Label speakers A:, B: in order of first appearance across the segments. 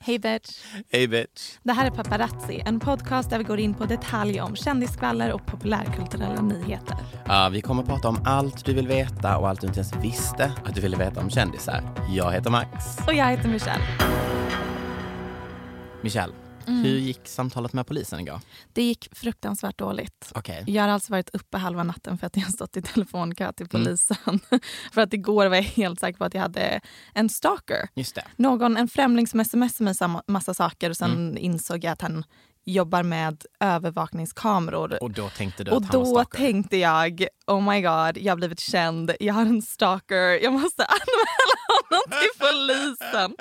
A: Hej bitch!
B: Hey bitch.
A: Det här är Paparazzi, en podcast där vi går in på detalj om kändisskvaller och populärkulturella nyheter.
B: Ja, vi kommer prata om allt du vill veta och allt du inte ens visste att du ville veta om kändisar. Jag heter Max.
A: Och jag heter Michelle.
B: Michelle,
A: Mm.
B: hur gick samtalet med polisen igår?
A: Det gick fruktansvärt dåligt.
B: Okej.
A: Jag har alltså varit uppe halva natten för att jag har stått i telefonkö till polisen. för att igår var jag helt säker på att jag hade en stalker.
B: Just det.
A: Någon, en främling som smsade mig samma- massa saker och sen insåg jag att han jobbar med övervakningskameror.
B: Och då tänkte du
A: Och
B: att han var
A: då
B: stalker?
A: tänkte jag, oh my god, jag har blivit känd, jag har en stalker, jag måste anmäla honom till polisen.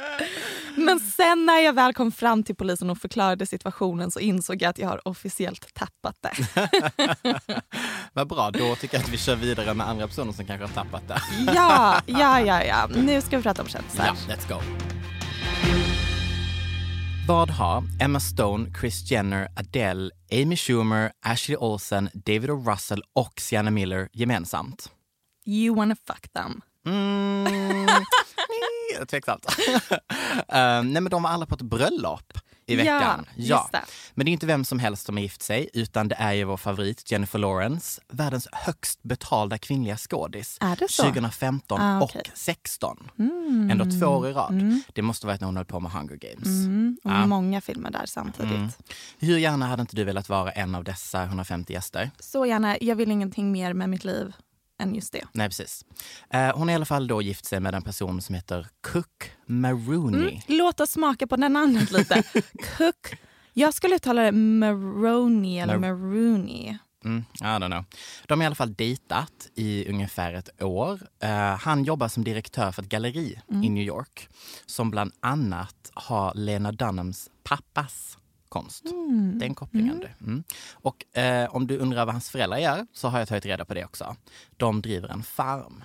A: Men sen när jag väl kom fram till polisen och förklarade situationen så insåg jag att jag har officiellt tappat det.
B: Vad bra, då tycker jag att vi kör vidare med andra personer som kanske har tappat det.
A: Ja, ja, ja, ja. Nu ska vi prata om kändisar.
B: Ja, let's go. Vad har Emma Stone, Chris Jenner, Adele, Amy Schumer, Ashley Olsen, David O. Russell och Sienna Miller gemensamt?
A: You wanna fuck them.
B: Mm. nej, Tveksamt. Eh, nej men de var alla på ett bröllop i
A: Ja,
B: veckan.
A: just det.
B: Men det är inte vem som helst som har gift sig utan det är ju vår favorit Jennifer Lawrence, världens högst betalda kvinnliga skådis.
A: Är det så?
B: 2015
A: Ah, okej. Mm.
B: och 16. Ändå två år i rad. Det måste varit när hon höll på med Hunger Games.
A: Och många filmer där samtidigt.
B: Mm. Hur gärna hade inte du velat vara en av dessa 150 gäster?
A: Så gärna, jag vill ingenting mer med mitt liv än just det.
B: Nej precis. Eh, hon har i alla fall då gift sig med en person som heter Cook Maroney.
A: Låt oss smaka på det namnet lite. Cook. Jag skulle uttala det Maroni eller
B: Mar-
A: Maroni.
B: Mm, I don't know. De har i alla fall dejtat i ungefär ett år. Eh, han jobbar som direktör för ett galleri i New York som bland annat har Lena Dunhams pappas konst. Den kopplingen du. Mm. Och eh, om du undrar vad hans föräldrar gör så har jag tagit reda på det också. De driver en farm.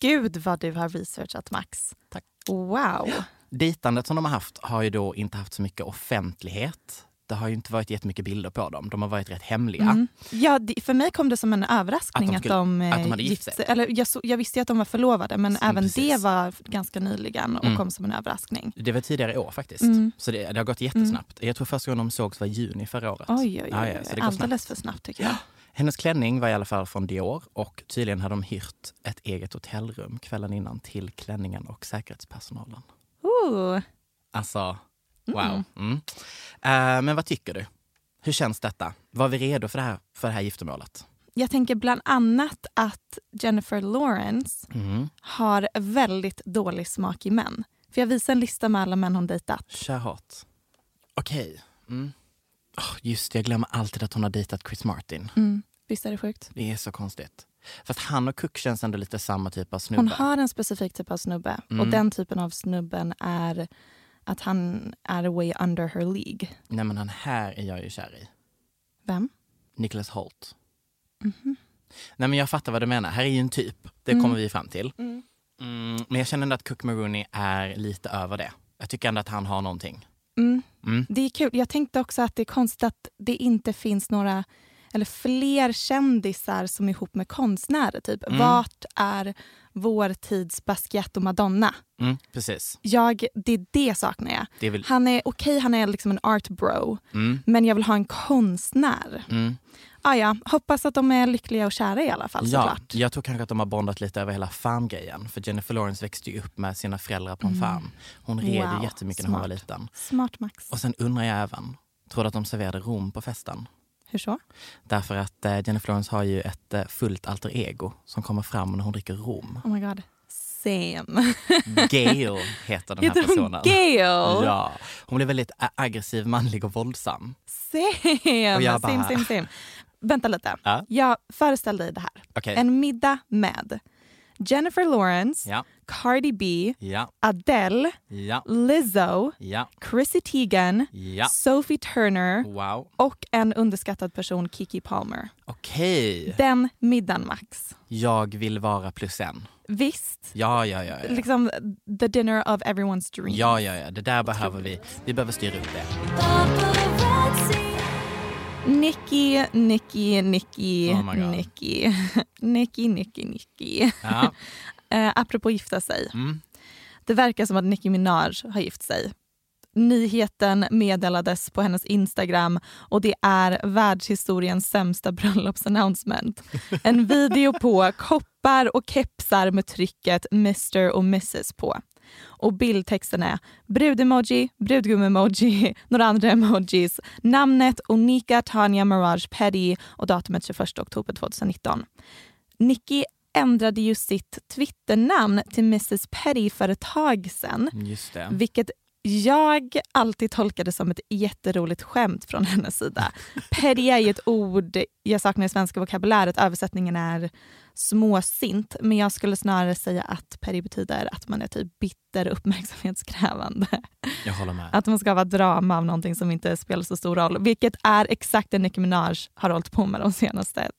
A: Gud vad du har researchat Max.
B: Tack.
A: Wow.
B: Dejtandet som de har haft har ju då inte haft så mycket offentlighet. Det har ju inte varit jättemycket bilder på dem. De har varit rätt hemliga.
A: Ja, det, för mig kom det som en överraskning
B: Att de
A: att de,
B: skulle- att de
A: eh,
B: hade gift sig. Mm,
A: Eller, jag, så, jag visste ju att de var förlovade men även
B: precis. Mm.
A: det var ganska nyligen och kom som en överraskning.
B: Det var tidigare i år faktiskt.
A: Mm.
B: Så det, det har gått jättesnabbt. Jag tror första gången de sågs var i juni förra året.
A: Oj, oj,
B: Ja,
A: oj.
B: ja, så det går
A: Alldeles
B: snabbt.
A: för snabbt tycker jag.
B: Hennes klänning var i alla fall från Dior och tydligen hade de hyrt ett eget hotellrum kvällen innan till klänningen och säkerhetspersonalen.
A: Oh.
B: Alltså, wow. Mm. Eh, men vad tycker du? Hur känns detta? Var vi redo för det här, för det här giftermålet?
A: Jag tänker bland annat att Jennifer Lawrence har väldigt dålig smak i män. För jag visade en lista med alla män hon dejtat.
B: Kör hårt. Okej. Mm. Åh, just det, jag glömmer alltid att hon har dejtat Chris Martin.
A: Visst är det sjukt?
B: Det är så konstigt. Fast han och Cook känns ändå lite samma typ av snubbe.
A: Hon har en specifik typ av snubbe och
B: Mm.
A: den typen av snubben är att han är way under her League.
B: Nej men han här är jag ju kär i.
A: Vem?
B: Nicholas
A: Mhm. Mm.
B: Holt. Nej men jag fattar vad du menar. Här är ju en typ. Det kommer vi fram till. Mm, men jag känner ändå att Cook Maroney är lite över det. Jag tycker ändå att han har någonting.
A: Mm.
B: Mm.
A: Det är kul. Jag tänkte också att det är konstigt att det inte finns några eller fler kändisar som är ihop med konstnärer. Typ.
B: Mm.
A: Vart är vår tids Basquiat och Madonna?
B: Mm, precis.
A: Jag, det är det saknar jag.
B: Det är väl...
A: Han är okej, han är liksom en art bro,
B: Mm,
A: men jag vill ha en konstnär.
B: mm.
A: Ah, ja. Hoppas att de är lyckliga och kära i alla fall
B: ja,
A: Alltså, såklart.
B: jag tror kanske att de har bondat lite över hela farmgrejen. För Jennifer Lawrence växte ju upp med sina föräldrar på en farm. Hon red ju
A: Mm. Wow,
B: jättemycket när hon var
A: smart.
B: liten.
A: Smart Max.
B: Och sen undrar jag även, tror du att de serverade rom på festen?
A: Hur så?
B: Därför att eh, Jennifer Lawrence har ju ett eh, fullt alter ego som kommer fram när hon dricker rom.
A: Oh my god. Same.
B: Gail heter den här
A: Mm. Heter hon
B: personen.
A: Gail?
B: Ja, hon blev väldigt ä- aggressiv, manlig och våldsam.
A: Same.
B: Och jag bara-
A: same, same, same. Vänta lite.
B: Ja.
A: Jag föreställ dig det här.
B: Okej.
A: En middag med Jennifer Lawrence,
B: Ja,
A: Cardi B,
B: ja,
A: Adele,
B: ja,
A: Lizzo,
B: ja,
A: Chrissy Teigen,
B: ja.
A: Sophie Turner
B: Wow.
A: och en underskattad person, Kiki Palmer.
B: Okej,
A: Den middagen, Max.
B: jag vill vara plus en.
A: Visst?
B: Ja, ja, ja. ja.
A: Liksom the dinner of everyone's dream.
B: Ja, ja, ja. Det där behöver vi. Vi behöver styra upp det.
A: Nicky, Nicky, Nicky,
B: Oh my God.
A: Nicky. Nicky, Nicky, Nicky.
B: Ja.
A: Eh, apropå gifta sig.
B: Mm.
A: Det verkar som att Nicki Minaj har gift sig. Nyheten meddelades på hennes Instagram och det är världshistoriens sämsta bröllopsannouncement. En video på koppar och kepsar med trycket Mr och Mrs på. Och bildtexten är brudemoji, brudgumemoji, några andra emojis, namnet Onika Tanya Mirage Petty och datumet 21 oktober 2019. Nicki ändrade ju sitt Twitternamn till Mrs Petty för ett tag sedan,
B: Just det.
A: vilket jag alltid tolkade som ett jätteroligt skämt från hennes sida. Petty är ju ett ord jag saknar i svenska vokabuläret. Översättningen är småsint, men jag skulle snarare säga att petty betyder att man är typ bitter och uppmärksamhetskrävande.
B: Jag håller med.
A: Att man skapar drama av någonting som inte spelar så stor roll. Vilket är exakt det Nicki Minaj har hållit på med de senaste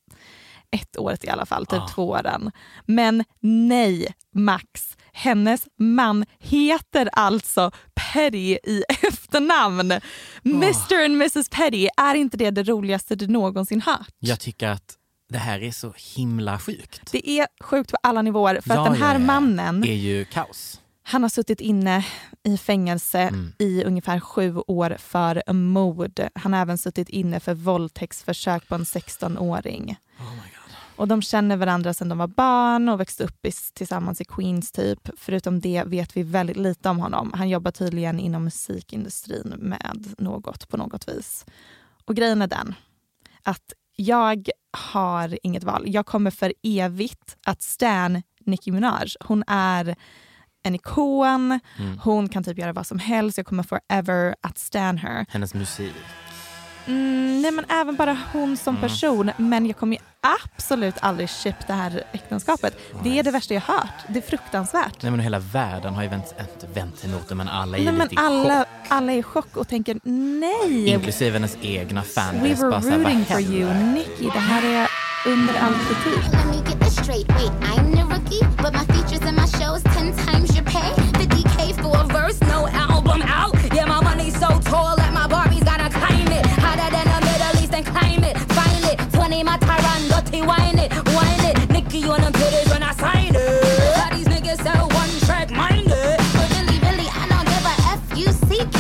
A: ett året i alla fall, typ
B: Ah.
A: två åren. Men nej, Max. Hennes man heter alltså Petty i efternamn.
B: Ah.
A: Mr and Mrs Petty, är inte det det roligaste du någonsin hört?
B: Jag tycker att det här är så himla sjukt.
A: Det är sjukt på alla nivåer för
B: Ja,
A: att den
B: ja,
A: här
B: ja.
A: mannen
B: Det är ju kaos.
A: Han har suttit inne i fängelse
B: Mm.
A: i ungefär sju år för mord. Han har även suttit inne för våldtäktsförsök på en 16-åring.
B: Oh my god.
A: Och de känner varandra sedan de var barn och växte upp i, tillsammans i Queens typ. Förutom det vet vi väldigt lite om honom. Han jobbar tydligen inom musikindustrin med något på något vis. Och grejen är den att jag har inget val. Jag kommer för evigt att stan Nicki Minaj. Hon är en ikon,
B: Mm.
A: hon kan typ göra vad som helst. Jag kommer forever att stan her.
B: Hennes musik.
A: Mm, nej men även bara hon som
B: Mm.
A: person. Men jag kommer ju absolut aldrig köpa det här äktenskapet. Det är det värsta jag hört. Det är fruktansvärt.
B: Nej, men hela världen har ju vänt, inte vänt emot det, men alla är
A: Nej, men
B: lite i
A: alla,
B: chock.
A: alla är i chock och tänker nej.
B: Inklusive hennes egna fanbase.
A: We were
B: bara så här, vad
A: rooting for
B: händer?
A: you. Nicky, det här är under all kritik.
C: Let me get this straight. Wait, I'm the rookie, but my features and my shows ten times your pay. 50k for a verse, no album out. Yeah, my money's so tall that my Barbie's gotta climb it. Hotter than the Middle Eastern climate. Find it, 20 my Tyron, Gotti, wine it, wine it. Nikki on the bitters when I sign it. All these niggas so one track minded. But really, really, I don't give a F-U-C-K.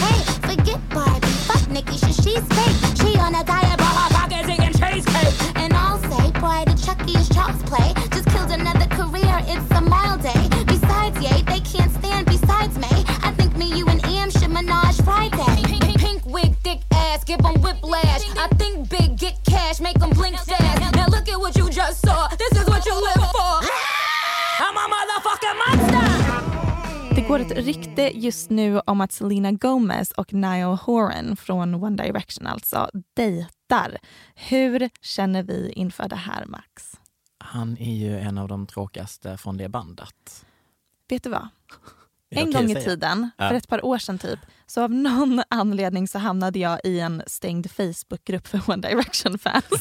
C: Forget Barbie, fuck Nikki, shit, she's fake. She on a diet, brought her pockets and cheesecake. And I'll say, boy, the Chucky is child's play. Just killed another career, it's a mild day. Besides, yay, they can't stand besides me. I think me, you, and Em should menage Friday. Pink, pink, pink wig, dick ass, give 'em whiplash. I think big, get cash, make 'em blink fast. Now look at what you just saw, this is what you live for. I'm a motherfucking monster!
A: Det går ett rykte just nu om att Selena Gomez och Niall Horan från One Direction alltså dejtar. Hur känner vi inför det här Max?
B: Han är ju en av de tråkigaste från det bandet.
A: Vet du vad?
B: Är det
A: En
B: okej
A: gång
B: att
A: i
B: säga?
A: tiden,
B: Ja.
A: för ett par år sedan typ, så av någon anledning så hamnade jag i en stängd Facebookgrupp för One Direction-fans.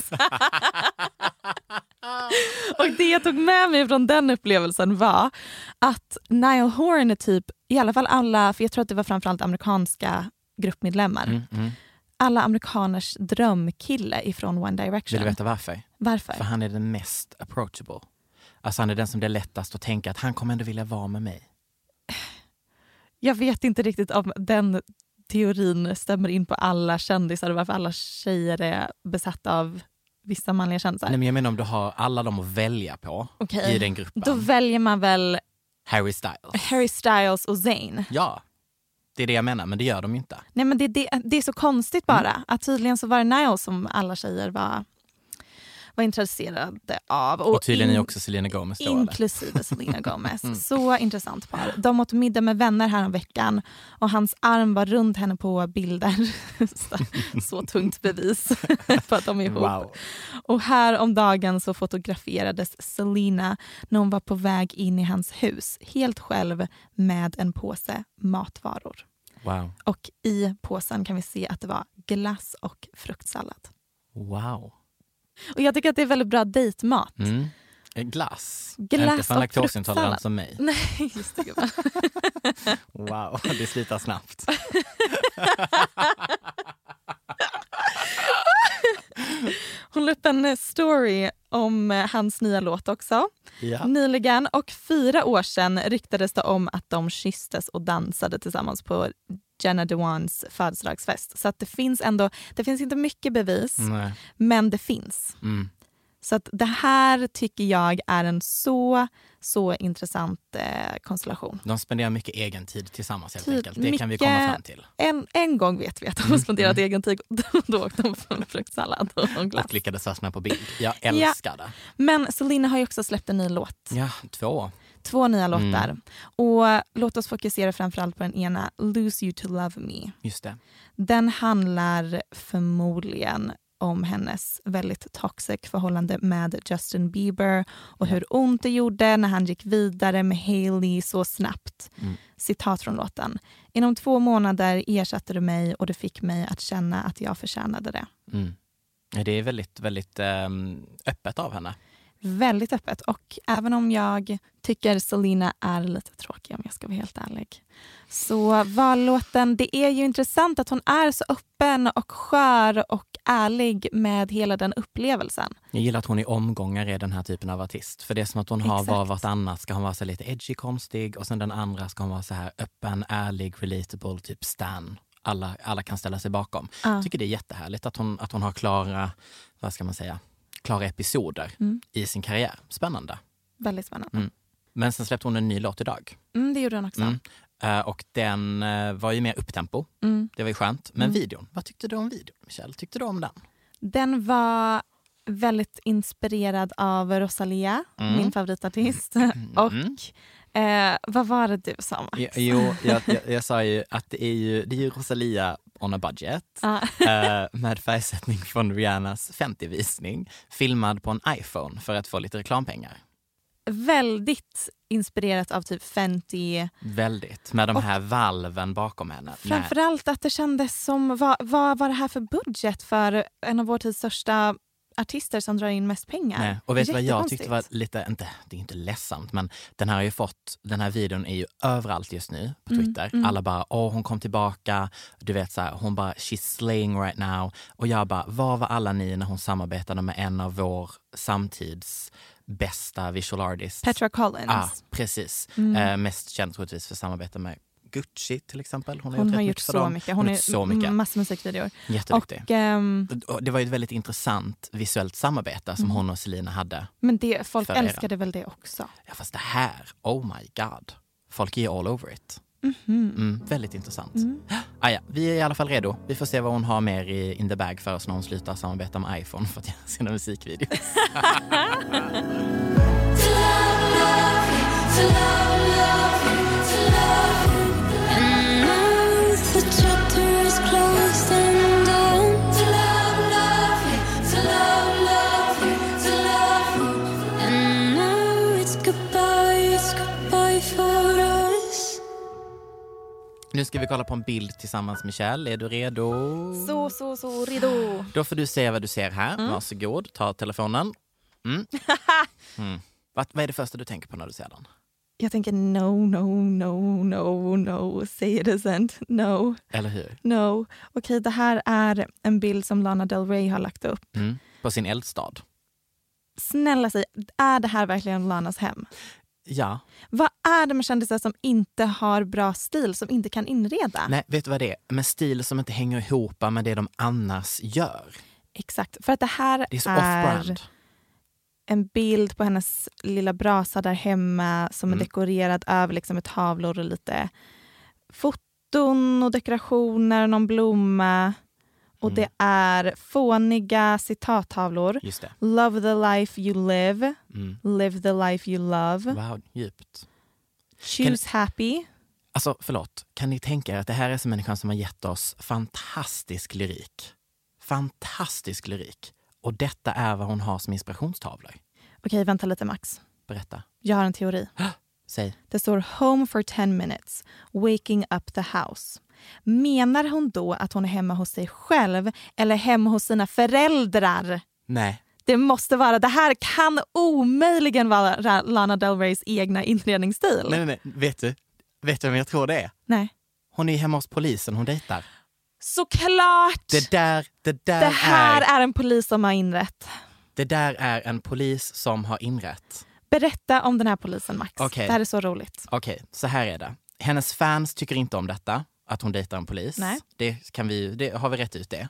A: Och det jag tog med mig från den upplevelsen var att Niall Horan är typ, i alla fall alla, för jag tror att det var framförallt amerikanska gruppmedlemmar,
B: Mm.
A: alla amerikaners drömkille ifrån One
B: Vill
A: Direction.
B: du veta varför?
A: Varför?
B: För han är den mest approachable. Alltså han är den som det är lättast att tänka att han kommer ändå vilja vara med mig.
A: Jag vet inte riktigt om den teorin stämmer in på alla kändisar och varför alla tjejer är besatta av vissa manliga kändisar.
B: Nej, men jag menar om du har alla dem att välja på
A: Okej.
B: i den gruppen.
A: Då väljer man väl
B: Harry Styles.
A: Harry Styles och Zayn.
B: Ja, det är det jag menar, men det gör de ju inte.
A: Nej, men det, det, det är så konstigt bara.
B: Mm.
A: Att tydligen så var det Niall som alla tjejer var, var intresserade av.
B: Och tydligen är
A: in-
B: också Selena Gomez då. eller?
A: Inklusive Selena Gomez.
B: Mm.
A: Så intressant par. De åt middag med vänner häromveckan och hans arm var runt henne på bilder. så, så tungt bevis på att de är ihop.
B: Wow.
A: Och här om dagen så fotograferades Selena när hon var på väg in i hans hus helt själv med en påse matvaror.
B: Wow.
A: Och i påsen kan vi se att det var glass och fruktsallad.
B: Wow.
A: Och jag tycker att det är väldigt bra dejtmat.
B: Mm. Eh, Glass.
A: Glass
B: inte för en
A: och
B: laktosintolerant
A: fruktsallad.
B: som mig.
A: Nej, just det. gumman.
B: Wow, det slutar snabbt.
A: Hon la upp en eh, story om eh, hans nya låt också.
B: Ja.
A: Nyligen och fyra år sedan ryktades det om att de kysstes och dansade tillsammans på Jenna Dewans födelsedagsfest. Så att det finns ändå, det finns inte mycket bevis,
B: Nej.
A: men det finns.
B: Mm.
A: Så att det här tycker jag är en så, så intressant eh, konstellation.
B: De spenderar mycket egen tid tillsammans helt
A: Tid-
B: enkelt. Det kan vi
A: mycket-
B: komma fram till. Mm.
A: En, en gång vet vi att de har spenderat egen tid och då åkte de på en fruktsallad och en glass.
B: Och lyckades fastna på bild. Jag älskar det.
A: Men Selena har ju också släppt en ny låt.
B: Ja, två.
A: Två nya låtar. Och låt oss fokusera framförallt på den ena, Lose You To Love Me.
B: Just det.
A: Den handlar förmodligen om hennes väldigt toxic förhållande med Justin Bieber och hur ont det gjorde när han gick vidare med Hailey så snabbt. Citat från låten. Inom två månader ersatte du mig och du fick mig att känna att jag förtjänade det.
B: Mm. Ja, Det är väldigt, väldigt ehm, öppet av henne.
A: Väldigt öppet. Och även om jag tycker Selena är lite tråkig om jag ska vara helt ärlig. Så vallåten, det är ju intressant att hon är så öppen och skör och ärlig med hela den upplevelsen.
B: Jag gillar att hon i omgångar är den här typen av artist. För det är som att hon har var
A: Exakt.
B: vartannat ska hon vara så lite edgy, konstig och sen den andra ska hon vara så här öppen, ärlig, relatable, typ stan. Alla, alla kan ställa sig bakom. Jag tycker det är jättehärligt att hon, att hon har klara, vad ska man säga, klara episoder
A: Mm.
B: i sin karriär. Spännande.
A: Väldigt spännande.
B: Mm. Men sen släppte hon en ny låt idag.
A: Mm, det gjorde hon också.
B: Mm. Eh, Och den eh, var ju mer upptempo.
A: Mm.
B: Det var ju skönt. Men videon, vad tyckte du om videon Michelle? Tyckte du om den?
A: Den var väldigt inspirerad av Rosalia, min favoritartist.
B: Mm.
A: Och eh, vad var det du sa, Max?
B: Jo, Jo, jag, jag, jag sa ju att det är ju, det är ju Rosalia on a budget
A: Ja.
B: eh, med färgsättning från Rihannas 50-visning filmad på en iPhone för att få lite reklampengar.
A: Väldigt inspirerat av typ Fenty,
B: Väldigt. Med de här valven bakom henne. Med-
A: Framförallt att det kändes som, vad, vad var det här för budget för en av vår tids största artister som drar in mest pengar?
B: Nej. Och vet du vad jag
A: Jättekonstigt.
B: tyckte var lite, inte, det är inte ledsamt, men den här har ju fått, den här videon är ju överallt just nu på
A: Mm,
B: Twitter. Alla bara, åh hon kom tillbaka, du vet så här, hon bara, she's slaying right now. Och jag bara, var var alla ni när hon samarbetade med en av vår samtids bästa visual artists?
A: Petra Mm. Collins.
B: ah, precis. Eh, mest känd troligtvis för samarbete med Gucci till exempel. Hon har
A: Hon
B: gjort,
A: har
B: rätt
A: gjort
B: för
A: så
B: dem.
A: mycket.
B: Hon
A: Hon
B: har gjort så mycket.
A: har massor musikvideor.
B: Jätteduktig.
A: Och, ehm,
B: Och det var ju ett väldigt intressant visuellt samarbete
A: Mm.
B: som hon och Selina hade.
A: men det, folk
B: För era.
A: älskade väl det också.
B: Ja, fast det här, oh my god. Folk är ju all over it. Mm, väldigt intressant. Ah, ja, vi är i alla fall redo. Vi får se vad hon har mer i, in the bag för oss när hon slutar samarbeta med iPhone för att göra sina musikvideos. Nu ska vi kolla på en bild tillsammans, Michelle. Är du redo?
A: Så, så, så redo.
B: Mm. Då får du se vad du ser här. Varsågod, ta telefonen. Mm. Vad, vad är det första du tänker på när du ser den?
A: Jag tänker no, no, no, no, no, say it isn't, no.
B: Eller hur?
A: No. Okej, det här är en bild som Lana Del Rey har lagt upp.
B: Mm. På sin eldstad.
A: Snälla säg, är det här verkligen Lanas hem?
B: Ja.
A: Vad är det med kändisar som inte har bra stil, som inte kan inreda?
B: Nej, vet du vad det är? Med stil som inte hänger ihop med det de annars gör.
A: Exakt, för att det här
B: Det är så
A: är
B: off-brand.
A: en bild på hennes lilla brasa där hemma som
B: Mm.
A: är dekorerad över liksom med tavlor och lite foton och dekorationer, någon blomma.
B: Mm.
A: Och det är fåniga citattavlor.
B: Just det.
A: Love the life you live.
B: Mm.
A: Live the life you love.
B: Wow, djupt.
A: Choose happy.
B: Alltså, förlåt. Kan ni tänka er att det här är som människan som har gett oss fantastisk lyrik. Fantastisk lyrik. Och detta är vad hon har som inspirationstavlor.
A: Okej, vänta lite Max.
B: Berätta.
A: Jag har en teori.
B: Säg.
A: Det står home for 10 minutes, waking up the house. Menar hon då att hon är hemma hos sig själv eller hemma hos sina föräldrar?
B: Nej.
A: Det måste vara, det här kan omöjligen vara Lana Del Reys egna inredningsstil.
B: Nej, nej, nej. Vet du? Vet du vem jag tror det är?
A: Nej.
B: Hon är hemma hos polisen hon dejtar.
A: Såklart!
B: Det
A: Det,
B: där, det där,
A: här
B: är,
A: är en polis som har inrett.
B: det där är en polis som har inrett.
A: Berätta om den här polisen Max.
B: Okej.
A: Det här är så roligt.
B: Okej, så här är det. Hennes fans tycker inte om detta, att hon dejtar en polis.
A: Nej. Mm.
B: Det, kan vi, det har vi rätt ut det.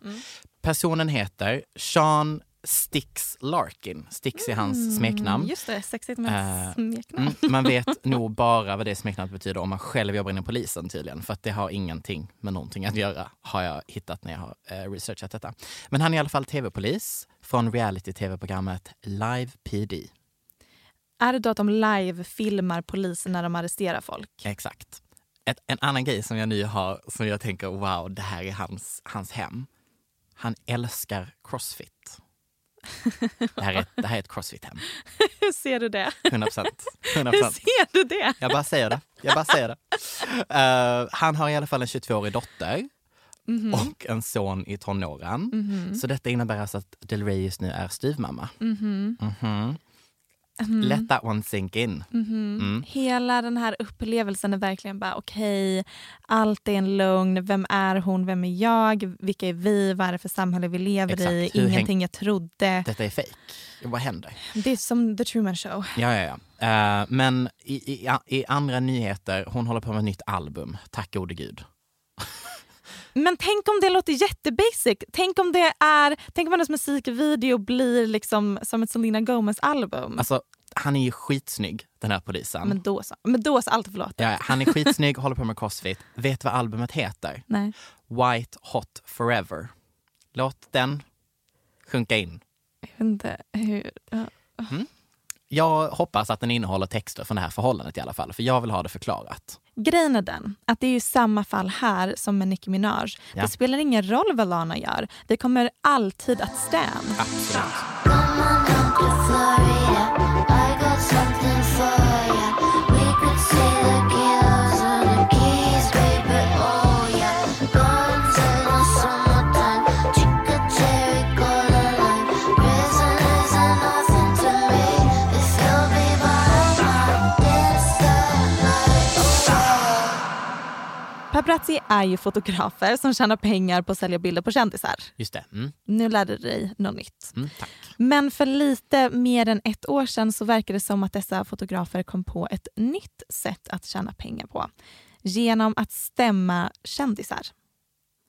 B: Personen heter Sean Stix Larkin. Stix är hans smeknamn.
A: Mm, Just det, sexigt med
B: Eh,
A: smeknamn.
B: Mm, man vet nog bara vad det smeknamnet betyder om man själv jobbar inom polisen tydligen. För att det har ingenting med någonting att göra har jag hittat när jag har eh, researchat detta. Men han är i alla fall tv-polis från reality-tv-programmet Live PD.
A: Är det då att de live-filmar poliser när de arresterar folk?
B: Exakt. Ett, en annan grej som jag nu har, som jag tänker wow, det här är hans, hans hem. Han älskar crossfit. Det här är, det här är ett crossfit-hem.
A: Hur ser du det?
B: 100 procent.
A: Hur ser du det?
B: Jag bara säger det. Jag bara säger det. Eh, han har i alla fall en 22-årig dotter och en son i tonåren. Så detta innebär alltså att Del Rey just nu är styvmamma. Mhm. Let that one sink in.
A: Hela den här upplevelsen är verkligen bara okej, allt är en lögn, vem är hon, vem är jag, vilka är vi, vad är det för samhälle vi lever
B: Exakt.
A: i,
B: Hur häng-
A: ingenting jag trodde.
B: Detta är fejk. Vad händer?
A: Det är som The Truman Show.
B: Ja, ja, ja. Eh, men i, i, i andra nyheter, hon håller på med ett nytt album, tack gode gud.
A: Men tänk om det låter jättebasic, tänk om det är, tänk om hennes musikvideo blir liksom som ett Selena Gomez-album.
B: Alltså, han är ju skitsnygg, den här polisen.
A: Men då så, men då så allt förlåtet.
B: Ja, han är skitsnygg, håller på med crossfit. Vet vad albumet heter?
A: Nej.
B: White Hot Forever. Låt den sjunka in.
A: Jag vet inte hur. ja.
B: Jag hoppas att den innehåller texter från det här förhållandet i alla fall, för jag vill ha det förklarat.
A: Grejen är den att det är ju samma fall här som med Nicki Minaj.
B: Ja.
A: Det spelar ingen roll vad Lana gör. Vi kommer alltid att stand.
B: Absolut.
C: Come on up to Florida. I got something for ya. We could say the girls on the keys, baby. Oh yeah. Guns in the summertime. Chica cherry cola lime. Prison isn't nothing to me. If you'll be mine, I'll dance the night away.
A: Paparazzi är ju fotografer som tjänar pengar på att sälja bilder på kändisar.
B: Just det. Mm,
A: Nu lärde du dig något nytt.
B: mm, tack.
A: Men för lite mer än ett år sedan så verkar det som att dessa fotografer kom på ett nytt sätt att tjäna pengar på. Genom att stämma kändisar.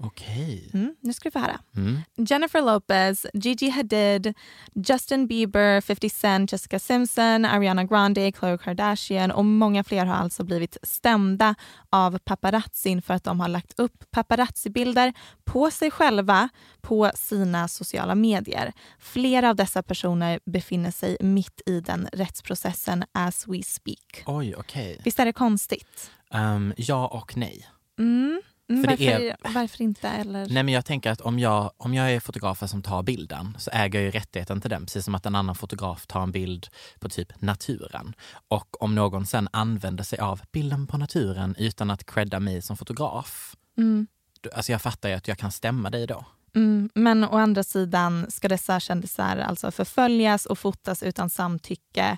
B: Okej.
A: Mm, nu ska du få höra.
B: Mm.
A: Jennifer Lopez, Gigi Hadid, Justin Bieber, 50 Cent, Jessica Simpson, Ariana Grande, Khloe Kardashian och många fler har alltså blivit stämda av paparazzin för att de har lagt upp paparazzibilder på sig själva på sina sociala medier. Flera av dessa personer befinner sig mitt i den rättsprocessen as we speak.
B: Oj, okej.
A: Visst är det konstigt?
B: Ehm, ja och nej.
A: Mm. Mm,
B: För det
A: varför,
B: är-
A: varför inte? Eller?
B: Nej men jag tänker att om jag, om jag är fotografen som tar bilden så äger jag ju rättigheten till den, precis som att en annan fotograf tar en bild på typ naturen. Och om någon sen använder sig av bilden på naturen utan att credda mig som fotograf,
A: Mm.
B: då- alltså jag fattar ju att jag kan stämma dig då.
A: Mm, men å andra sidan ska dessa kändisar alltså förföljas och fotas utan samtycke.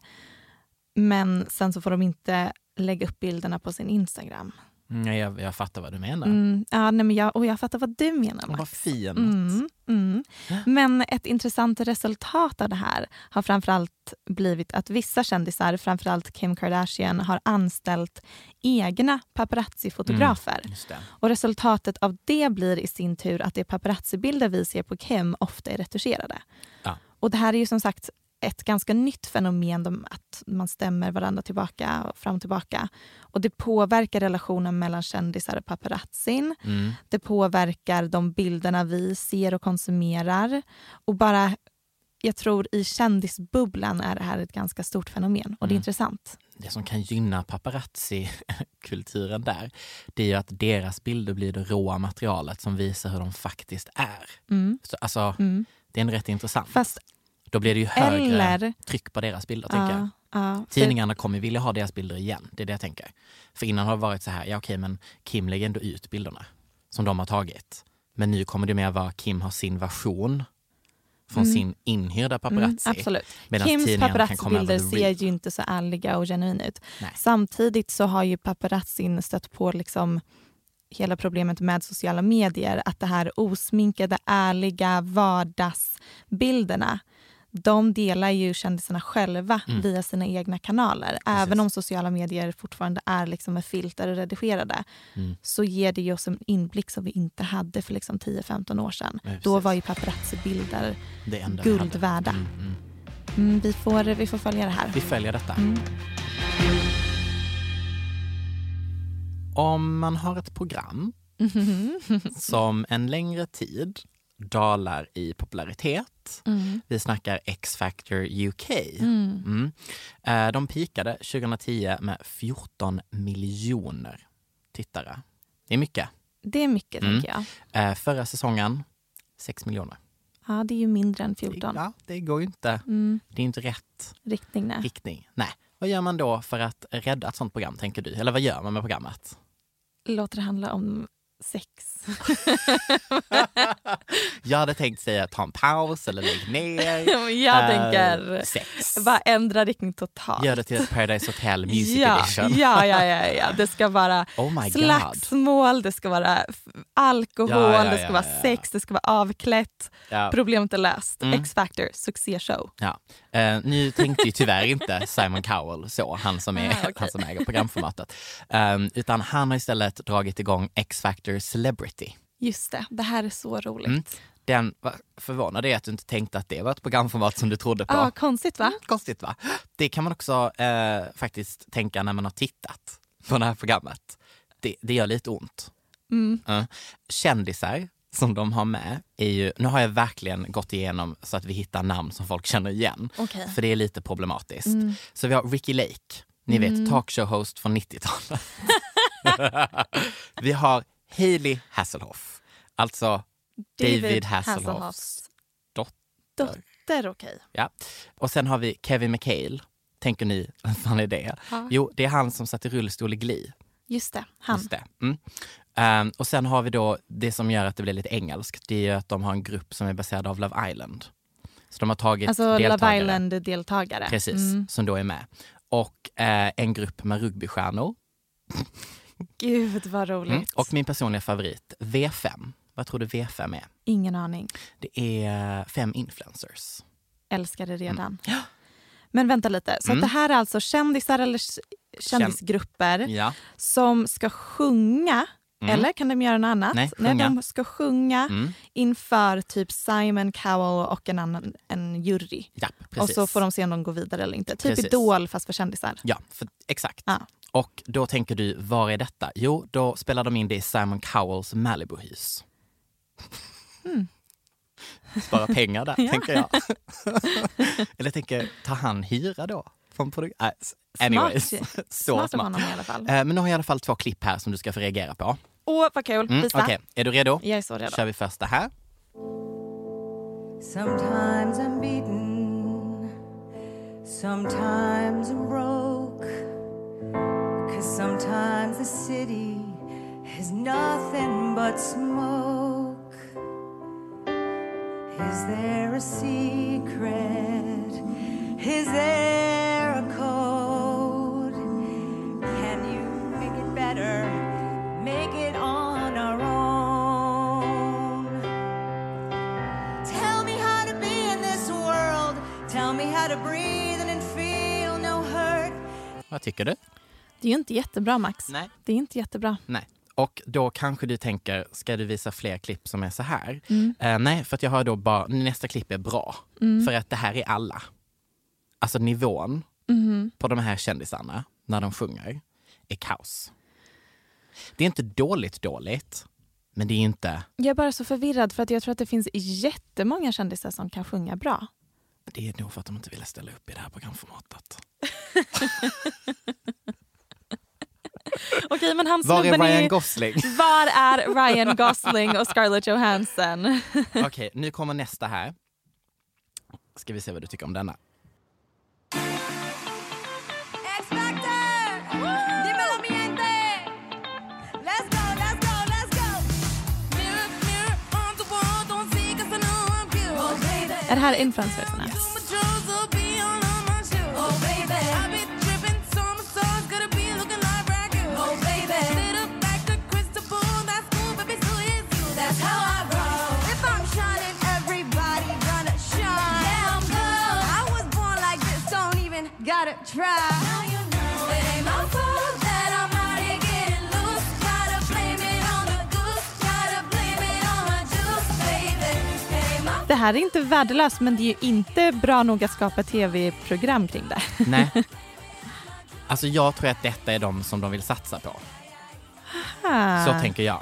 A: Men sen så får de inte lägga upp bilderna på sin Instagram.
B: Nej, jag, jag fattar vad du menar.
A: Mm, ja, nej, men jag, och jag fattar vad du menar
B: Vad
A: Max.
B: fint.
A: Mm, mm. Men ett intressant resultat av det här har framförallt blivit att vissa kändisar, framförallt Kim Kardashian, har anställt egna paparazzi-fotografer.
B: Just det.
A: Och resultatet av det blir i sin tur att de paparazzibilder vi ser på Kim ofta är retuscherade.
B: Ja.
A: Och det här är ju som sagt ett ganska nytt fenomen, de- att man stämmer varandra tillbaka och fram och tillbaka. Och det påverkar relationen mellan kändisar och paparazzin.
B: Mm.
A: Det påverkar de bilderna vi ser och konsumerar. Och bara, jag tror i kändisbubblan är det här ett ganska stort fenomen och det är
B: Mm.
A: intressant.
B: Det som kan gynna paparazzi-kulturen där, det är ju att deras bilder blir det råa materialet som visar hur de faktiskt är. Så, alltså, Det är en rätt intressant.
A: Mm. Fast
B: Då blir det ju högre
A: Eller-
B: tryck på deras bilder. tänker jag.
A: ja, för-
B: Tidningarna kommer vilja ha deras bilder igen. Det är det jag tänker. För innan har det varit så här, ja okej men Kim lägger ändå ut bilderna som de har tagit. Men nu kommer det mer vara Kim har sin version från sin inhyrda paparazzi.
A: Mm, absolut.
B: Medan
A: Kims
B: tidningarna kan komma över
A: paparazzibilder
B: the real.
A: ser ju inte så ärliga och genuina ut.
B: Nej.
A: Samtidigt så har ju paparazzin stött på liksom hela problemet med sociala medier. Att det här osminkade, ärliga vardagsbilderna de delar ju kändisarna själva
B: Mm.
A: via sina egna kanaler. Även om sociala medier fortfarande är liksom med filter och redigerade
B: Mm.
A: så ger det ju oss en inblick som vi inte hade för liksom 10-15 år sedan.
B: Nej,
A: Då
B: precis.
A: var ju paparazzibilder
B: Det enda vi
A: guld
B: hade.
A: värda.
B: Mm, mm.
A: Mm, vi, får, vi får följa det här.
B: Vi följer detta. Om man har ett program som en längre tid dalar i popularitet. Vi snackar X-Factor UK. Mm. Eh, De pikade 2010 med 14 miljoner tittare. Det är mycket.
A: Det är mycket,
B: Mm.
A: tänker jag.
B: Eh, Förra säsongen, 6 miljoner.
A: Ja, det är ju mindre än 14.
B: Ja, det går ju inte.
A: Mm,
B: Det är inte rätt
A: riktning, nej.
B: riktning. Nej. Vad gör man då för att rädda ett sånt program, tänker du? Eller vad gör man med programmet?
A: Låter det handla om sex?
B: Jag hade tänkt säga ta en paus eller lägg ner.
A: jag
B: Eh,
A: tänker
B: Sex.
A: Äh, bara ändra riktning totalt.
B: Gör det till ett Paradise Hotel Music
A: ja,
B: Edition.
A: ja, ja, ja, ja. Det ska vara
B: Oh my god.
A: slagsmål, det ska vara f- alkohol,
B: Ja, ja,
A: det
B: ja,
A: ska vara
B: ja, ja.
A: sex, det ska vara avklätt.
B: Ja.
A: Problemet är löst.
B: Mm.
A: X-Factor, succéshow.
B: Ja. Eh, nu tänkte ju tyvärr inte Simon Cowell så, han som, är,
A: Ah, okej.
B: han som äger programformatet. Eh, utan han har istället dragit igång X-Factor Celebrity.
A: Just det, det här är så roligt.
B: Mm. Den vad förvånade är att du inte tänkte att det var ett programformat som du trodde på.
A: Ah, konstigt va?
B: Konstigt va? Det kan man också eh, faktiskt tänka när man har tittat på det här programmet. Det, det gör lite ont. Ja. Kändisar som de har med är ju, nu har jag verkligen gått igenom så att vi hittar namn som folk känner igen.
A: Okej.
B: För det är lite problematiskt. Så vi har Ricky Lake, ni vet talkshow-host från 90-talet. vi har Hailey Hasselhoff, alltså David, Hasselhoffs dotter.
A: Dotter, okej.
B: Ja. Och sen har vi Kevin McHale. Tänker ni, vad fan är det?
A: Ja.
B: Jo, det är han som satt i rullstol i Glee.
A: Just det, han.
B: Just det. Mm. Ehm, och sen har vi då det som gör att det blir lite engelskt. Det är ju att de har en grupp som är baserad av Love Island. Så de har tagit
A: Alltså
B: deltagare.
A: Love Island-deltagare.
B: Precis,
A: Mm.
B: som då är med. Och eh, en grupp med rugbystjärnor.
A: Gud vad roligt.
B: Mm. Och min personliga favorit, V5. Vad tror du V5 är?
A: Ingen aning.
B: Det är fem influencers.
A: Älskar det redan.
B: Mm.
A: Men vänta lite, så att det här är alltså kändisar eller s- kändisgrupper
B: Ja. Mm.
A: som ska sjunga Eller kan de göra något annat?
B: Nej, sjunga. Mm.
A: de ska sjunga inför typ Simon Cowell och en annan en jury.
B: Ja,
A: och
B: precis.
A: så får de se om de går vidare eller inte. Typ
B: Precis.
A: Idol fast för kändisar.
B: Ja, för, exakt.
A: Ja.
B: Och då tänker du, var är detta? Jo, då spelar de in det i Simon Cowells Malibu-hus.
A: Hmm.
B: Spara pengar där, tänker jag. Eller tänker, tar han hyra då? Från produ- äh, s- anyways,
A: Smart.
B: så
A: Smart
B: smart.
A: av honom i alla fall.
B: Eh, Men nu har jag i alla fall två klipp här som du ska få reagera på.
A: Åh vad kul,
B: Mm,
A: visa.
B: Okej, är du redo?
A: Jag är så redo.
B: kör vi första här.
D: Sometimes I'm beaten, sometimes I'm broke. Cause sometimes the city is nothing but smoke. Is there a secret? Is there a code? Can you make it better? Make it on our own. Tell me how to be in this world. Tell me how to breathe in and feel no hurt.
B: Vad tycker du?
A: Det är ju inte jättebra Max.
B: Nej.
A: Det är inte jättebra.
B: Nej. Och då kanske du tänker, ska du visa fler klipp som är så här? Eh, nej, för att jag har då bara, nästa klipp är bra. För att det här är alla. Alltså nivån på de här kändisarna när de sjunger är kaos. Det är inte dåligt dåligt, men det är inte,
A: Jag är bara så förvirrad för att jag tror att det finns jättemånga kändisar som kan sjunga bra.
B: det är nog för att de inte ville ställa upp i det här programformatet.
A: Okej men han
B: Var är
A: snubben
B: Ryan Gosling?
A: Var är Ryan Gosling och Scarlett Johansson?
B: Okej, nu kommer nästa här. Ska vi se vad du tycker om denna.
C: X Factor. Dímelo, mi gente. Let's go, let's go, let's go. Mirror, mirror on the wall, don't see 'cause I know I'm cute. Oh, baby.
A: Är det här influencersarna?
C: Too much jewels will be all on my shoes. I be dripping, so much sauce, gotta be looking like Ragu. Little back to crystal ball, that's cool, baby, so is you. If I'm shining, everybody gonna shine. I was born like this, don't even gotta try. It ain't my fault that I'm out here getting loose. Gotta blame it on the goose. Gotta blame it on my juice, baby. It ain't my
A: Det här är inte värdelöst men det är ju inte bra nog att skapa tv-program kring det.
B: Nej. Alltså jag tror att detta är de som de vill satsa på. Så
A: Ah.
B: tänker jag.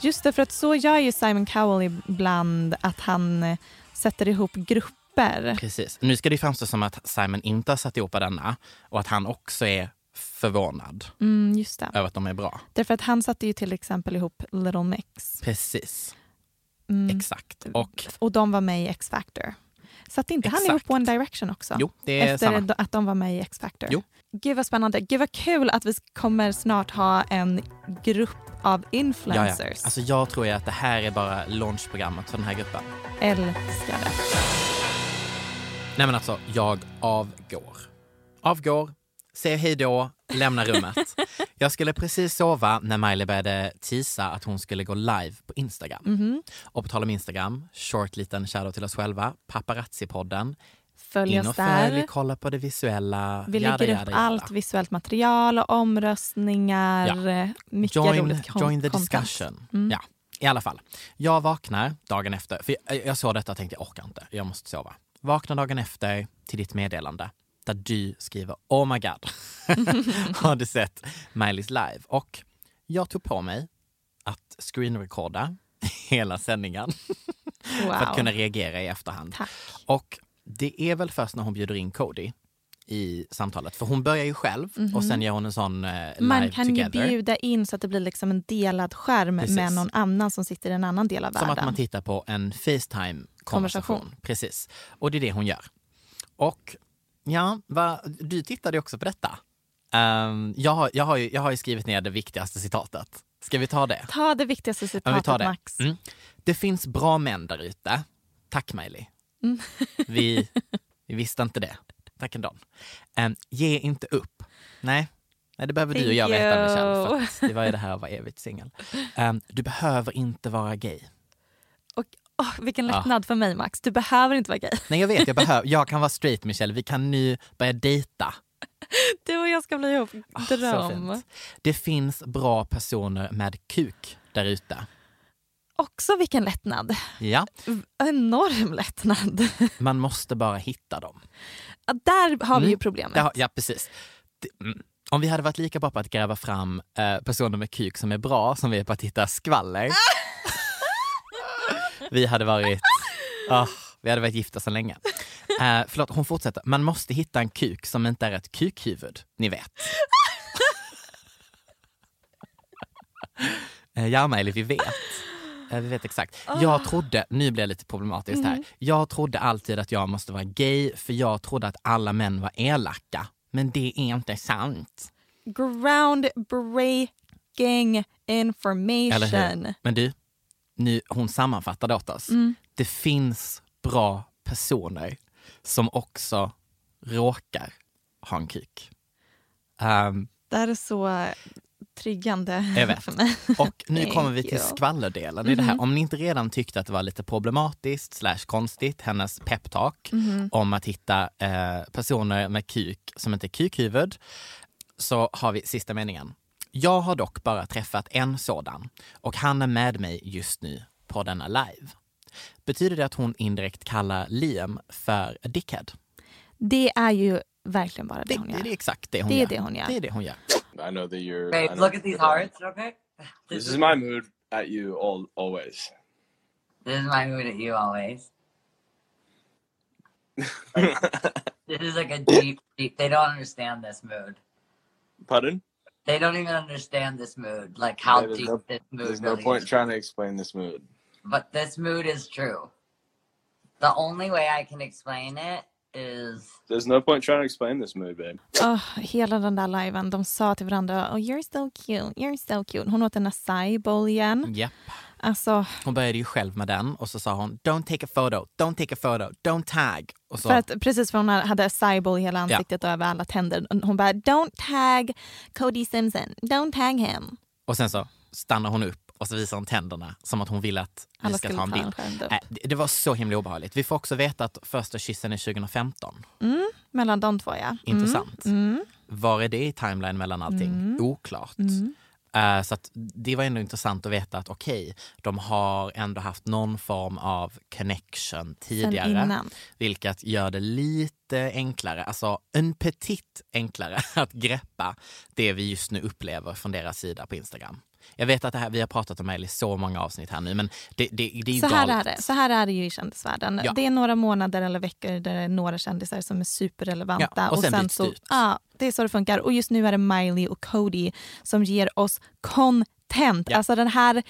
A: Just det, för att så gör ju Simon Cowell ibland att han eh, sätter ihop grupper.
B: Precis. Nu ska det framstå som att Simon inte har satt ihop denna och att han också är förvånad
A: Mm, just det.
B: över att de är bra.
A: Därför att han satte ju till exempel ihop Little Mix
B: Precis.
A: Mm.
B: Exakt. Och
A: och de var med i X-Factor. Satte inte han ihop
B: Exakt.
A: One Direction också?
B: jo, det är
A: Efter
B: samma.
A: d- att de var med i X-Factor.
B: Jo.
A: Gud vad spännande. Gud vad kul att vi kommer snart ha en grupp av
B: Ja,
A: influencers.
B: ja. Alltså jag tror ju att det här är bara launchprogrammet för den här gruppen.
A: Älskar det.
B: Nej men alltså, jag avgår. Avgår, säger hej då, lämnar rummet. jag skulle precis sova när Miley började tisa att hon skulle gå live på Instagram.
A: Mhm.
B: Och på tal om Instagram, short liten shoutout till oss själva, paparazzi-podden.
A: Följ
B: In
A: oss
B: och följ,
A: där.
B: kolla på det visuella.
A: Vi lägger upp allt visuellt material och omröstningar. Eh, Mycket
B: Join,
A: roligt kon-
B: join the
A: content. Mm.
B: discussion. Ja, i alla fall. Jag vaknar dagen efter, för jag, jag såg detta och tänkte jag orkar inte, jag måste sova. Vaknar dagen efter till ditt meddelande där du skriver Oh my god, har du sett Miley's live? Och jag tog på mig att screenrecorda hela sändningen
A: Wow.
B: för att kunna reagera i efterhand.
A: Tack.
B: Och det är väl först när hon bjuder in Cody i samtalet, för hon börjar ju själv och sen gör hon en sån eh, live
A: Mhm. Man kan ju
B: together.
A: bjuda in så att det blir liksom en delad skärm
B: Precis.
A: med någon annan som sitter i en annan del av
B: Som
A: världen.
B: att man tittar på en Facetime-konversation.
A: Konversation.
B: Precis. Och det är det hon gör. Och ja, va, du tittade ju också på detta. Ehm, jag, har, jag, har ju, jag har ju skrivit ner det viktigaste citatet. Ska vi ta det?
A: Ta det viktigaste
B: Ja, vi
A: citatet
B: tar det.
A: Max.
B: Mm. Det finns bra män där ute. Tack Miley.
A: Mm.
B: vi, vi visste inte det. Tack ändå. Um, ge inte upp. Nej. Nej, det behöver du och jag
A: Thank
B: veta Michelle.
A: you.
B: För att det var ju det här att vara evigt singel. Ehm, du behöver inte vara gay.
A: Och, åh, vilken
B: Ah.
A: lättnad för mig Max. Du behöver inte vara gay.
B: Nej jag vet, jag, behöver, jag kan vara straight Michelle, vi kan nu börja dejta.
A: Du och jag ska bli ihop.
B: Ah, så
A: Dröm.
B: fint. Det finns bra personer med kuk där ute.
A: Också vilken lättnad.
B: Ja,
A: Enorm lättnad.
B: man måste bara hitta dem.
A: Ja, Där har vi ju
B: Mm.
A: problemet.
B: Ja, ja precis. Det- mm. Om vi hade varit lika bra på att gräva fram eh, personer med kuk som är bra som vi är på att hitta skvaller. vi hade varit... ah, vi hade varit gifta så länge. Eh, förlåt, hon fortsätter. Man måste hitta en kuk som inte är ett kukhuvud, ni vet. Eh, Ja, Miley, vi vet. Eh, Vi vet exakt. Jag trodde, nu blir det lite problematiskt här. Jag trodde alltid att jag måste vara gay för jag trodde att alla män var elaka. Men det är inte sant.
A: Groundbreaking
B: Eller hur?
A: information.
B: Men du, nu, hon sammanfattade åt oss. Det finns bra personer som också råkar ha en kuk. Ehm,
A: Det här är så triggande
B: Jag vet.
A: för mig.
B: Och nu
A: Thank
B: kommer vi till
A: you. Mhm.
B: skvallerdelen i det här. Om ni inte redan tyckte att det var lite problematiskt slash konstigt, hennes peptalk
A: Mhm.
B: om att hitta eh, personer med kuk som inte är kukhuvud, så har vi sista meningen. Jag har dock bara träffat en sådan och han är med mig just nu på denna live. Betyder det att hon indirekt kallar Liam för a dickhead?
A: Det är ju verkligen bara det,
B: Det,
A: hon
B: det,
A: gör.
B: är exakt det hon
A: Det är
B: gör.
A: det hon gör.
B: Det är det hon gör.
E: I know that you're. I
F: Babe,
E: know
F: look
E: that
F: at these
E: you're-
F: hearts real quick.
E: This is my mood at you all always.
F: This is my mood at you always. This is like a deep, deep. They don't understand this mood.
E: Pardon?
F: They don't even understand this mood, like how
E: Yeah, there's
F: deep
E: no-
F: this mood
E: There's
F: really
E: no point
F: is.
E: trying to explain this mood.
F: But this mood is true. The only way I can explain it is
E: There's no point trying to explain this mood, babe.
A: Åh, hela den där liven, de sa till varandra oh, you're so cute, you're so cute. Hon åt en acai bowl igen.
B: Japp.
A: Alltså,
B: Hon började ju själv med den och så sa hon “Don't take a photo, don't take a photo, don't tag”. Och så,
A: för att, precis för hon hade acai bowl i hela ansiktet och över alla tänder. Hon bara don't tag Cody Simpson, don't tag him.
B: och sen så stannar hon upp och så visar hon tänderna som att hon vill att vi
A: Alla
B: ska
A: skulle
B: ta en
A: ta en
B: bild.
A: skärmd upp.
B: Äh, det- det var så himla obehagligt. Vi får också veta att första kyssen är 2015.
A: Mellan de två ja.
B: Intressant.
A: Mm.
B: Var är det i timeline mellan allting? Oklart.
A: Mm.
B: Eh, så att det var ändå intressant att veta att okej, de har ändå haft någon form av connection tidigare.
A: innan.
B: Vilket gör det lite enklare, alltså en petit enklare att greppa det vi just nu upplever från deras sida på Instagram. Jag vet att det här, vi har pratat om det här i så många avsnitt här nu men det, det, det är ju
A: Så här, är
B: galet.
A: det. så här är det ju i kändisvärlden.
B: Ja.
A: Det är några månader eller veckor där det är några kändisar som är superrelevanta.
B: Ja, och sen byts det
A: så,
B: ut.
A: ja, Det är så det funkar. Och just nu är det Miley och Cody som ger oss content.
B: Ja.
A: Alltså den här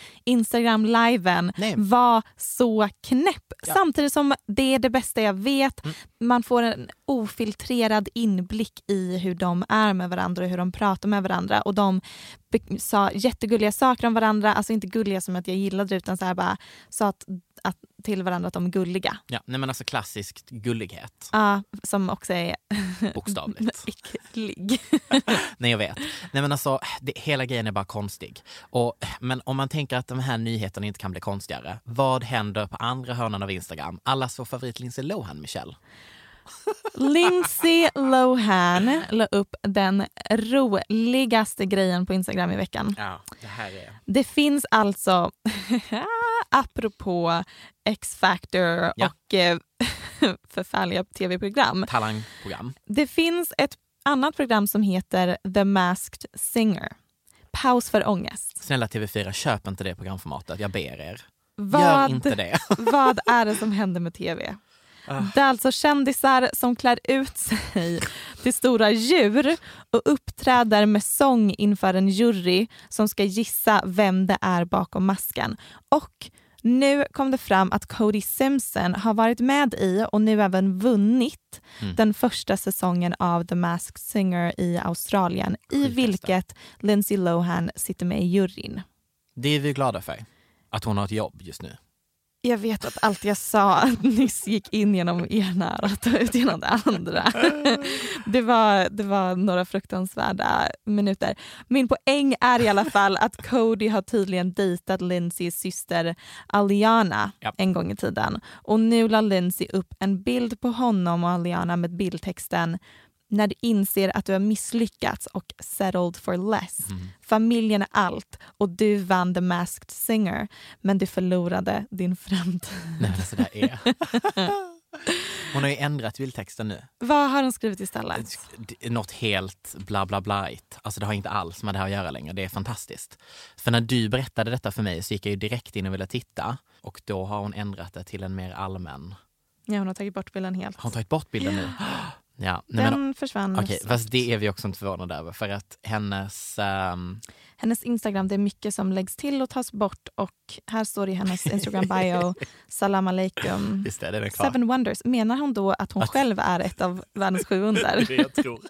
A: Instagram-liven
B: Nej.
A: var så knäpp. Samtidigt som det är det bästa jag vet.
B: Mm.
A: Man får en ofiltrerad inblick i hur de är med varandra och hur de pratar med varandra. Och de be- sa jättegulliga saker om varandra. Alltså inte gulliga som att jag gillade det, utan så här bara sa att, att, till varandra att de är gulliga.
B: Ja, nej men alltså klassisk gullighet,
A: Ja, som också är
B: bokstavligt.
A: äcklig.
B: Nej jag vet. Nej men alltså det, hela grejen är bara konstig. Och, men om man tänker att den här nyheten inte kan bli konstigare. Vad händer på andra hörnan av Instagram? Allas vår favorit Lindsay Lohan Michelle.
A: Lindsay Lohan la upp den roligaste grejen på Instagram i veckan.
B: Ja, det här är...
A: Det finns alltså, apropå X-Factor
B: Ja.
A: och eh, förfärliga tv-program.
B: Talangprogram.
A: Det finns ett annat program som heter The Masked Singer. Paus för ångest.
B: Snälla TV4, köp inte det programformatet. Jag ber er. Gör
A: Vad-
B: inte det.
A: Vad är det som händer med tv? Det är alltså kändisar som klär ut sig till stora djur och uppträder med sång inför en jury som ska gissa vem det är bakom masken. Och nu kom det fram att Cody Simpson har varit med i och nu även vunnit den första säsongen av The Masked Singer i Australien i vilket Lindsay Lohan sitter med i juryn.
B: Det är vi glada för. Att hon har ett jobb just nu.
A: Jag vet att allt jag sa nyss gick in genom ena örat och ut genom det andra. Det var, det var några fruktansvärda minuter. Min poäng är i alla fall att Cody har tydligen dejtat Lindsays syster Aliana
B: Ja.
A: en gång i tiden. Och nu la Lindsay upp en bild på honom och Aliana med bildtexten när du inser att du har misslyckats och settled for less.
B: Mm.
A: Familjen är allt och du vann The Masked Singer men du förlorade din framtid.
B: Nej, men så där är. Hon har ju ändrat bildtexten nu.
A: Vad har hon skrivit istället?
B: Det är Något helt bla bla bla Alltså det har inte alls med det här att göra längre. Det är fantastiskt. För när du berättade detta för mig så gick jag ju direkt in och ville titta. Och då har hon ändrat det till en mer allmän...
A: Ja, hon har tagit bort bilden helt.
B: Har hon tagit bort bilden nu? Ja, nej
A: Den
B: men
A: försvann.
B: okej. fast det är vi också inte förvånade över. För att hennes... ehm,
A: Hennes Instagram, det är mycket som läggs till och tas bort. Och här står det i hennes Instagram bio, salam aleikum.
B: just det, den är kvar.
A: Seven wonders. Menar hon då att hon själv är ett av världens sju under?
B: Det är det jag tror.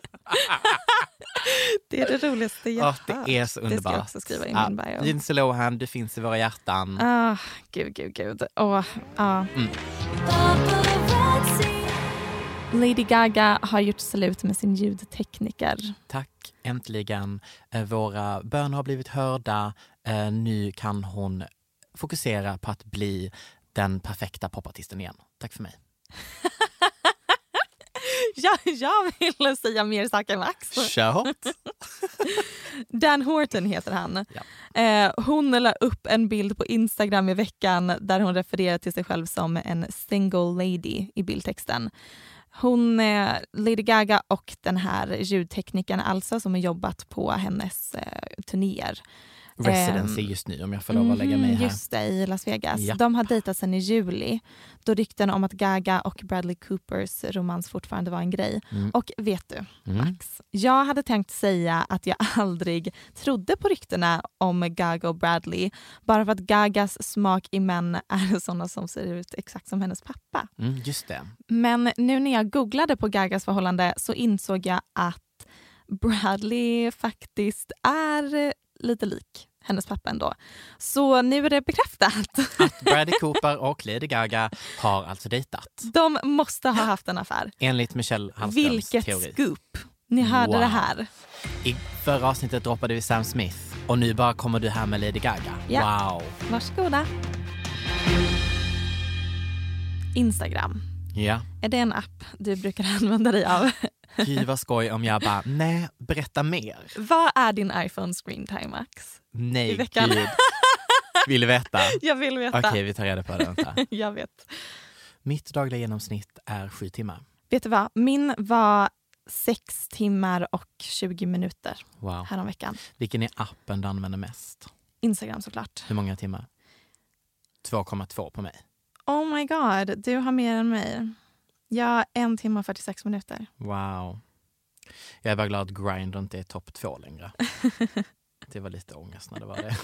A: Det är det roligaste jag
B: Åh,
A: hört.
B: det är så
A: Det
B: underbart.
A: ska jag också skriva i
B: Ja,
A: min bio.
B: Lindsay Lohan, du finns i våra hjärtan.
A: Ah, gud, gud, gud. Åh, ah. Lady Gaga har gjort slut med sin ljudtekniker.
B: Tack, äntligen. Eh, Våra böner har blivit hörda. Eh, Nu kan hon fokusera på att bli den perfekta popartisten igen. Tack för mig.
A: Jag, jag ville säga mer saker än Max.
B: Kör hårt.
A: Dan Horton heter han. Eh, hon la upp en bild på Instagram i veckan där hon refererar till sig själv som en single lady i bildtexten. Hon, eh, Lady Gaga och den här ljudteknikern alltså som har jobbat på hennes eh, turnéer.
B: Residency just nu om jag får lov att lägga mig
A: Ehm, Mhm,
B: här.
A: Just det, i Las Vegas.
B: Japp.
A: De har dejtat sedan i juli då rykten om att Gaga och Bradley Coopers romans fortfarande var en grej.
B: Mm.
A: Och vet du, Max? Jag hade tänkt säga att jag aldrig trodde på ryktena om Gaga och Bradley bara för att Gagas smak i män är såna som ser ut exakt som hennes pappa.
B: Mm, just det.
A: Men nu när jag googlade på Gagas förhållande så insåg jag att Bradley faktiskt är eh, lite lik hennes pappa ändå. Så nu är det bekräftat.
B: Att Bradley Cooper och Lady Gaga har alltså dejtat.
A: De måste ha haft en affär.
B: Enligt Michelle Hallströms
A: Vilket
B: teori.
A: scoop! Ni hörde
B: Wow.
A: det här.
B: I förra avsnittet droppade vi Sam Smith och nu bara kommer du här med Lady Gaga.
A: Ja.
B: Wow!
A: Varsågoda. Instagram.
B: Ja.
A: Är det en app du brukar använda dig av?
B: Gud vad skoj om jag bara, nej, berätta mer.
A: Vad är din iPhone screen time, Max?
B: Nej,
A: I veckan.
B: gud. Vill du veta?
A: Jag vill veta.
B: Okej, vi tar reda på det. Vänta.
A: Jag vet.
B: Mitt dagliga genomsnitt är sju timmar.
A: Vet du vad? Min var sex timmar och 20 minuter
B: Wow.
A: häromveckan.
B: Vilken är appen du använder mest?
A: Instagram såklart.
B: Hur många timmar? 2,2 på mig.
A: Oh my god, du har mer än mig. Ja, en timme och 46 minuter.
B: Wow. Jag är bara glad att Grindr inte är topp två längre. Det var lite ångest när det var det.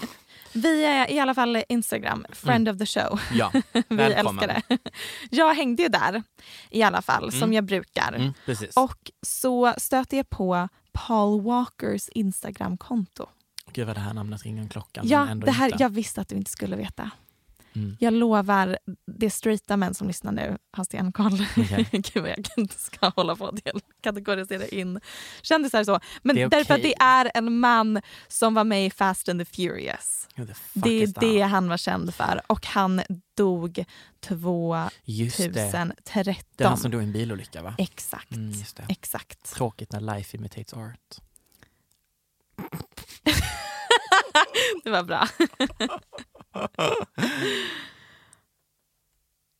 A: Vi är i alla fall Instagram, friend of the show.
B: Ja,
A: Vi
B: Mm. välkommen.
A: älskar det. Jag hängde ju där i alla fall, som jag brukar.
B: Mm, precis.
A: Och så stöter jag på Paul Walkers Instagramkonto.
B: Gud vad det här namnet ringer en klocka. men
A: Ja,
B: ändå
A: det här,
B: inte.
A: jag visste att du inte skulle veta.
B: Mm.
A: Jag lovar, det är straighta män som lyssnar nu har stenkoll.
B: Okej.
A: Gud vad jag inte ska hålla på och del- kategorisera in kändisar så. Men
B: Det är
A: därför att
B: okej.
A: det är en man som var med i Fast and the Furious.
B: Who the fuck
A: Det
B: is
A: är
B: that?
A: det han var känd för och han dog
B: Just det.
A: 2013.
B: Det är han som dog i en bilolycka va?
A: Exakt.
B: Mm, just det.
A: Exakt.
B: Tråkigt när life imitates art.
A: Det var bra.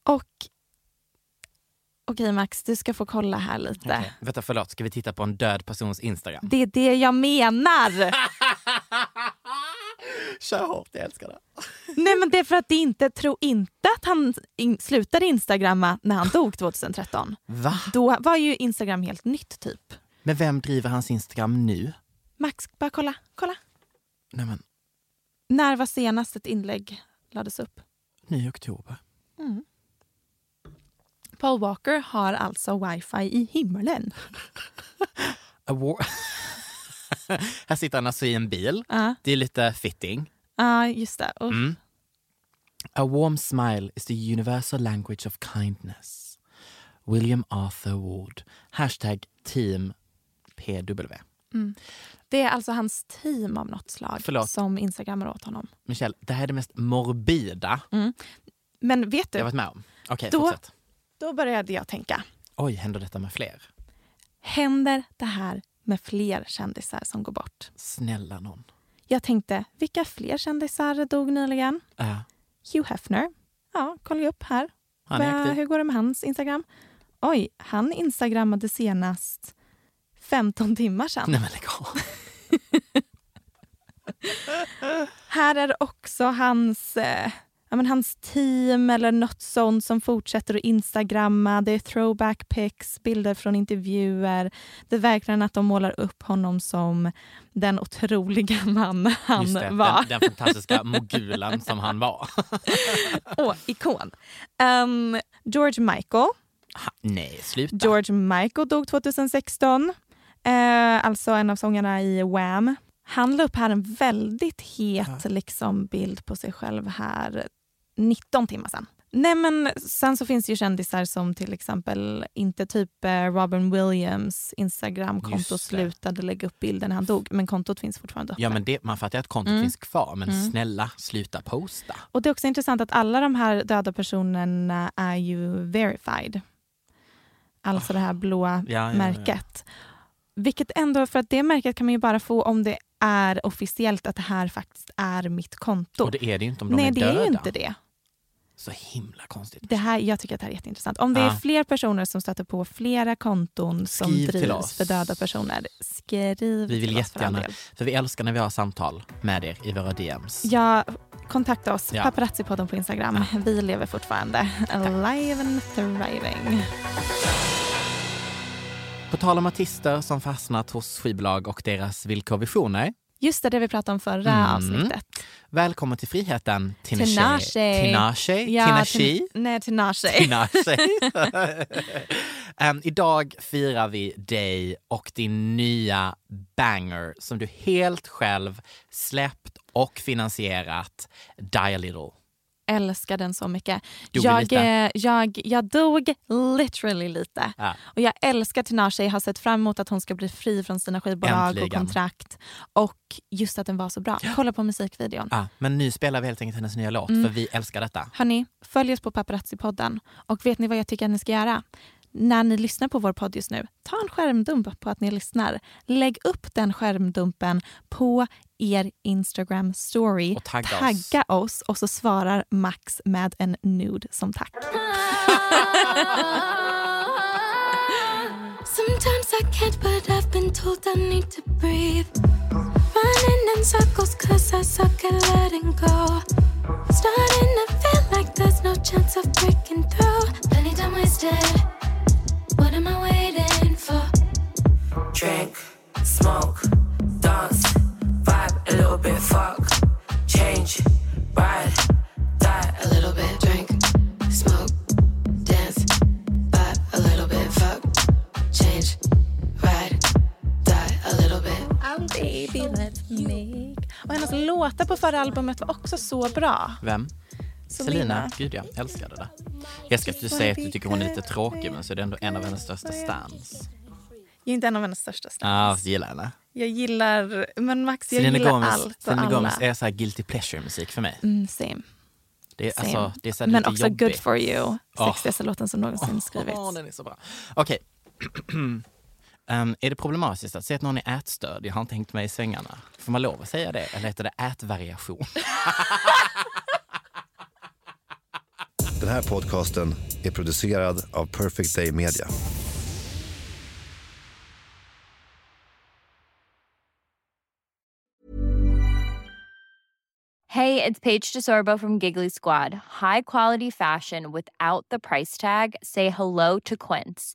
A: och... Okej Max, du ska få kolla här lite.
B: Okej, Vänta förlåt, ska vi titta på en död persons Instagram?
A: Det är det jag menar!
B: Kör hårt, jag älskar det.
A: Nej men det är för att det inte, tro inte att han in, slutade instagramma när han dog 2013.
B: Va?
A: Då var ju instagram helt nytt typ.
B: Men vem driver hans Instagram nu?
A: Max, bara kolla, kolla.
B: Nej men,
A: När var senast ett inlägg lades upp?
B: nu i oktober.
A: Paul Walker har alltså wifi i himlen.
B: A war- här sitter han alltså i en bil.
A: Ja,
B: Det är lite fitting.
A: ja, just det. Uff.
B: Mm. A warm smile is the universal language of kindness. William Arthur Ward. Hashtag team PW.
A: Det är alltså hans team av något slag
B: Förlåt.
A: som instagrammar åt honom.
B: Michelle, det här är det mest morbida
A: Men vet
B: jag
A: du,
B: varit med om. Okej,
A: Då-
B: fortsätt.
A: då började jag tänka.
B: Oj, händer detta med fler?
A: Händer det här med fler kändisar som går bort?
B: Snälla någon.
A: Jag tänkte, vilka fler kändisar dog nyligen?
B: Ja,
A: Hugh Hefner. Ja, kolla upp här.
B: han är
A: Vad-
B: aktiv.
A: Hur går det med hans Instagram? Oj, han instagrammade senast 15 timmar sedan.
B: Nej men lägg av.
A: Här är också hans, eh, ja, men hans team eller något sånt som fortsätter att instagramma. Det är throwback pics, bilder från intervjuer. Det är verkligen att de målar upp honom som den otroliga man han
B: Just det,
A: var.
B: den, den fantastiska mogulen som han var.
A: Åh, ikon. Ehm, George Michael.
B: Ha, nej, sluta.
A: George Michael dog 2016. eh, alltså en av sångarna i Wham, han la upp här en väldigt het liksom, bild på sig själv här 19 timmar sedan. Nej, men sen så finns det ju kändisar som till exempel inte typ eh, Robin Williams
B: Just
A: Instagramkonto
B: det.
A: slutade lägga upp bilden när han dog, men kontot finns fortfarande
B: Ja,
A: öppet.
B: men det, man fattar ju att kontot
A: Mm.
B: finns kvar, men
A: Mm.
B: snälla sluta posta.
A: Och det är också intressant att alla de här döda personerna är ju verified. Alltså det här blåa
B: Ah. Ja, ja, ja.
A: märket. Vilket ändå, för att det märket kan man ju bara få om det är officiellt att det här faktiskt är mitt konto.
B: Och det är det ju inte om de
A: Nej,
B: är
A: det är
B: döda.
A: ju inte det.
B: Så himla konstigt.
A: det här, jag tycker att det här är jätteintressant. Om det
B: Ja.
A: är fler personer som stöter på flera konton som
B: Ah. Skriv till
A: drivs
B: oss.
A: för döda personer, skriv
B: Vi vill
A: till oss för all
B: jättegärna,
A: del.
B: för vi älskar när vi har samtal med er i våra DMs.
A: Ja, kontakta oss,
B: Ja.
A: Paparazzipodden på Instagram. Vi lever fortfarande. Alive and thriving.
B: På tal om artister som fastnat hos skivbolag och deras villkor och visioner.
A: Just det, det vi pratade om förra
B: Mm.
A: avsnittet.
B: Välkommen till friheten, Tinashe.
A: Tinashe.
B: Tinashe. Tinashe.
A: Tin- nej, Tinashe.
B: Tinashe. Em, idag firar vi dig och din nya banger som du helt själv släppt och finansierat, Die a little.
A: Älskar den så mycket.
B: Dog
A: jag,
B: lite.
A: eh, jag, jag dog literally lite.
B: Ja.
A: Och jag älskar Tinashe. Jag har sett fram emot att hon ska bli fri från sina skivbolag och
B: Äntligen.
A: kontrakt. Och just att den var så bra. Kolla på musikvideon.
B: Ja, men nu spelar vi helt enkelt hennes nya låt för vi älskar detta.
A: Hörni, följ oss på Paparazzi-podden. Och vet ni vad jag tycker att ni ska göra? När ni lyssnar på vår podd just nu, ta en skärmdump på att ni lyssnar. Lägg upp den skärmdumpen på er Instagram story.
B: Och tagga oss.
A: tagga oss. och så svarar Max med en nude som tack.
C: Sometimes I can't, but I've been told I need to breathe. Running in circles, cause I suck at letting go. Starting to feel like there's no chance of breaking through. Plenty time wasted. What am I waiting for?
G: drink, smoke, dance, vibe a little bit, fuck, change, ride, die a little bit, drink, smoke, dance, vibe a little bit, fuck, change, ride, die a little bit.
A: Och hennes låtar på förra albumet var också så bra.
B: Vem?
A: Selena.
B: Selina. Gud, jag älskade det. Jag ska att du säger att du tycker hon är lite tråkig, men så är det ändå en av hennes största stans.
A: Jag är inte en av hennes största stjärnor.
B: Ja, jag gillar henne.
A: Jag gillar, men Max jag
B: Selena
A: gillar
B: Gomez,
A: allt och
B: Selena
A: alla.
B: Gomez är så här guilty pleasure-musik för mig.
A: Mm, same.
B: Det är,
A: Same.
B: alltså, det är så här
A: Men
B: lite
A: också
B: jobbigt. Ah.
A: Good for you,
B: Åh.
A: sexigaste låten som någonsin skrivits.
B: Åh, Ah, den är så bra. Okej. Ehm, är det problematiskt att säga att någon är ätstörd? Jag har inte hängt med i svängarna. Får man lov att säga det? Eller heter det ätvariation?
H: Den här podcasten är producerad av Perfect Day Media.
C: Hey, it's Paige DeSorbo from Giggly Squad. High quality fashion without the price tag. Say hello to Quince.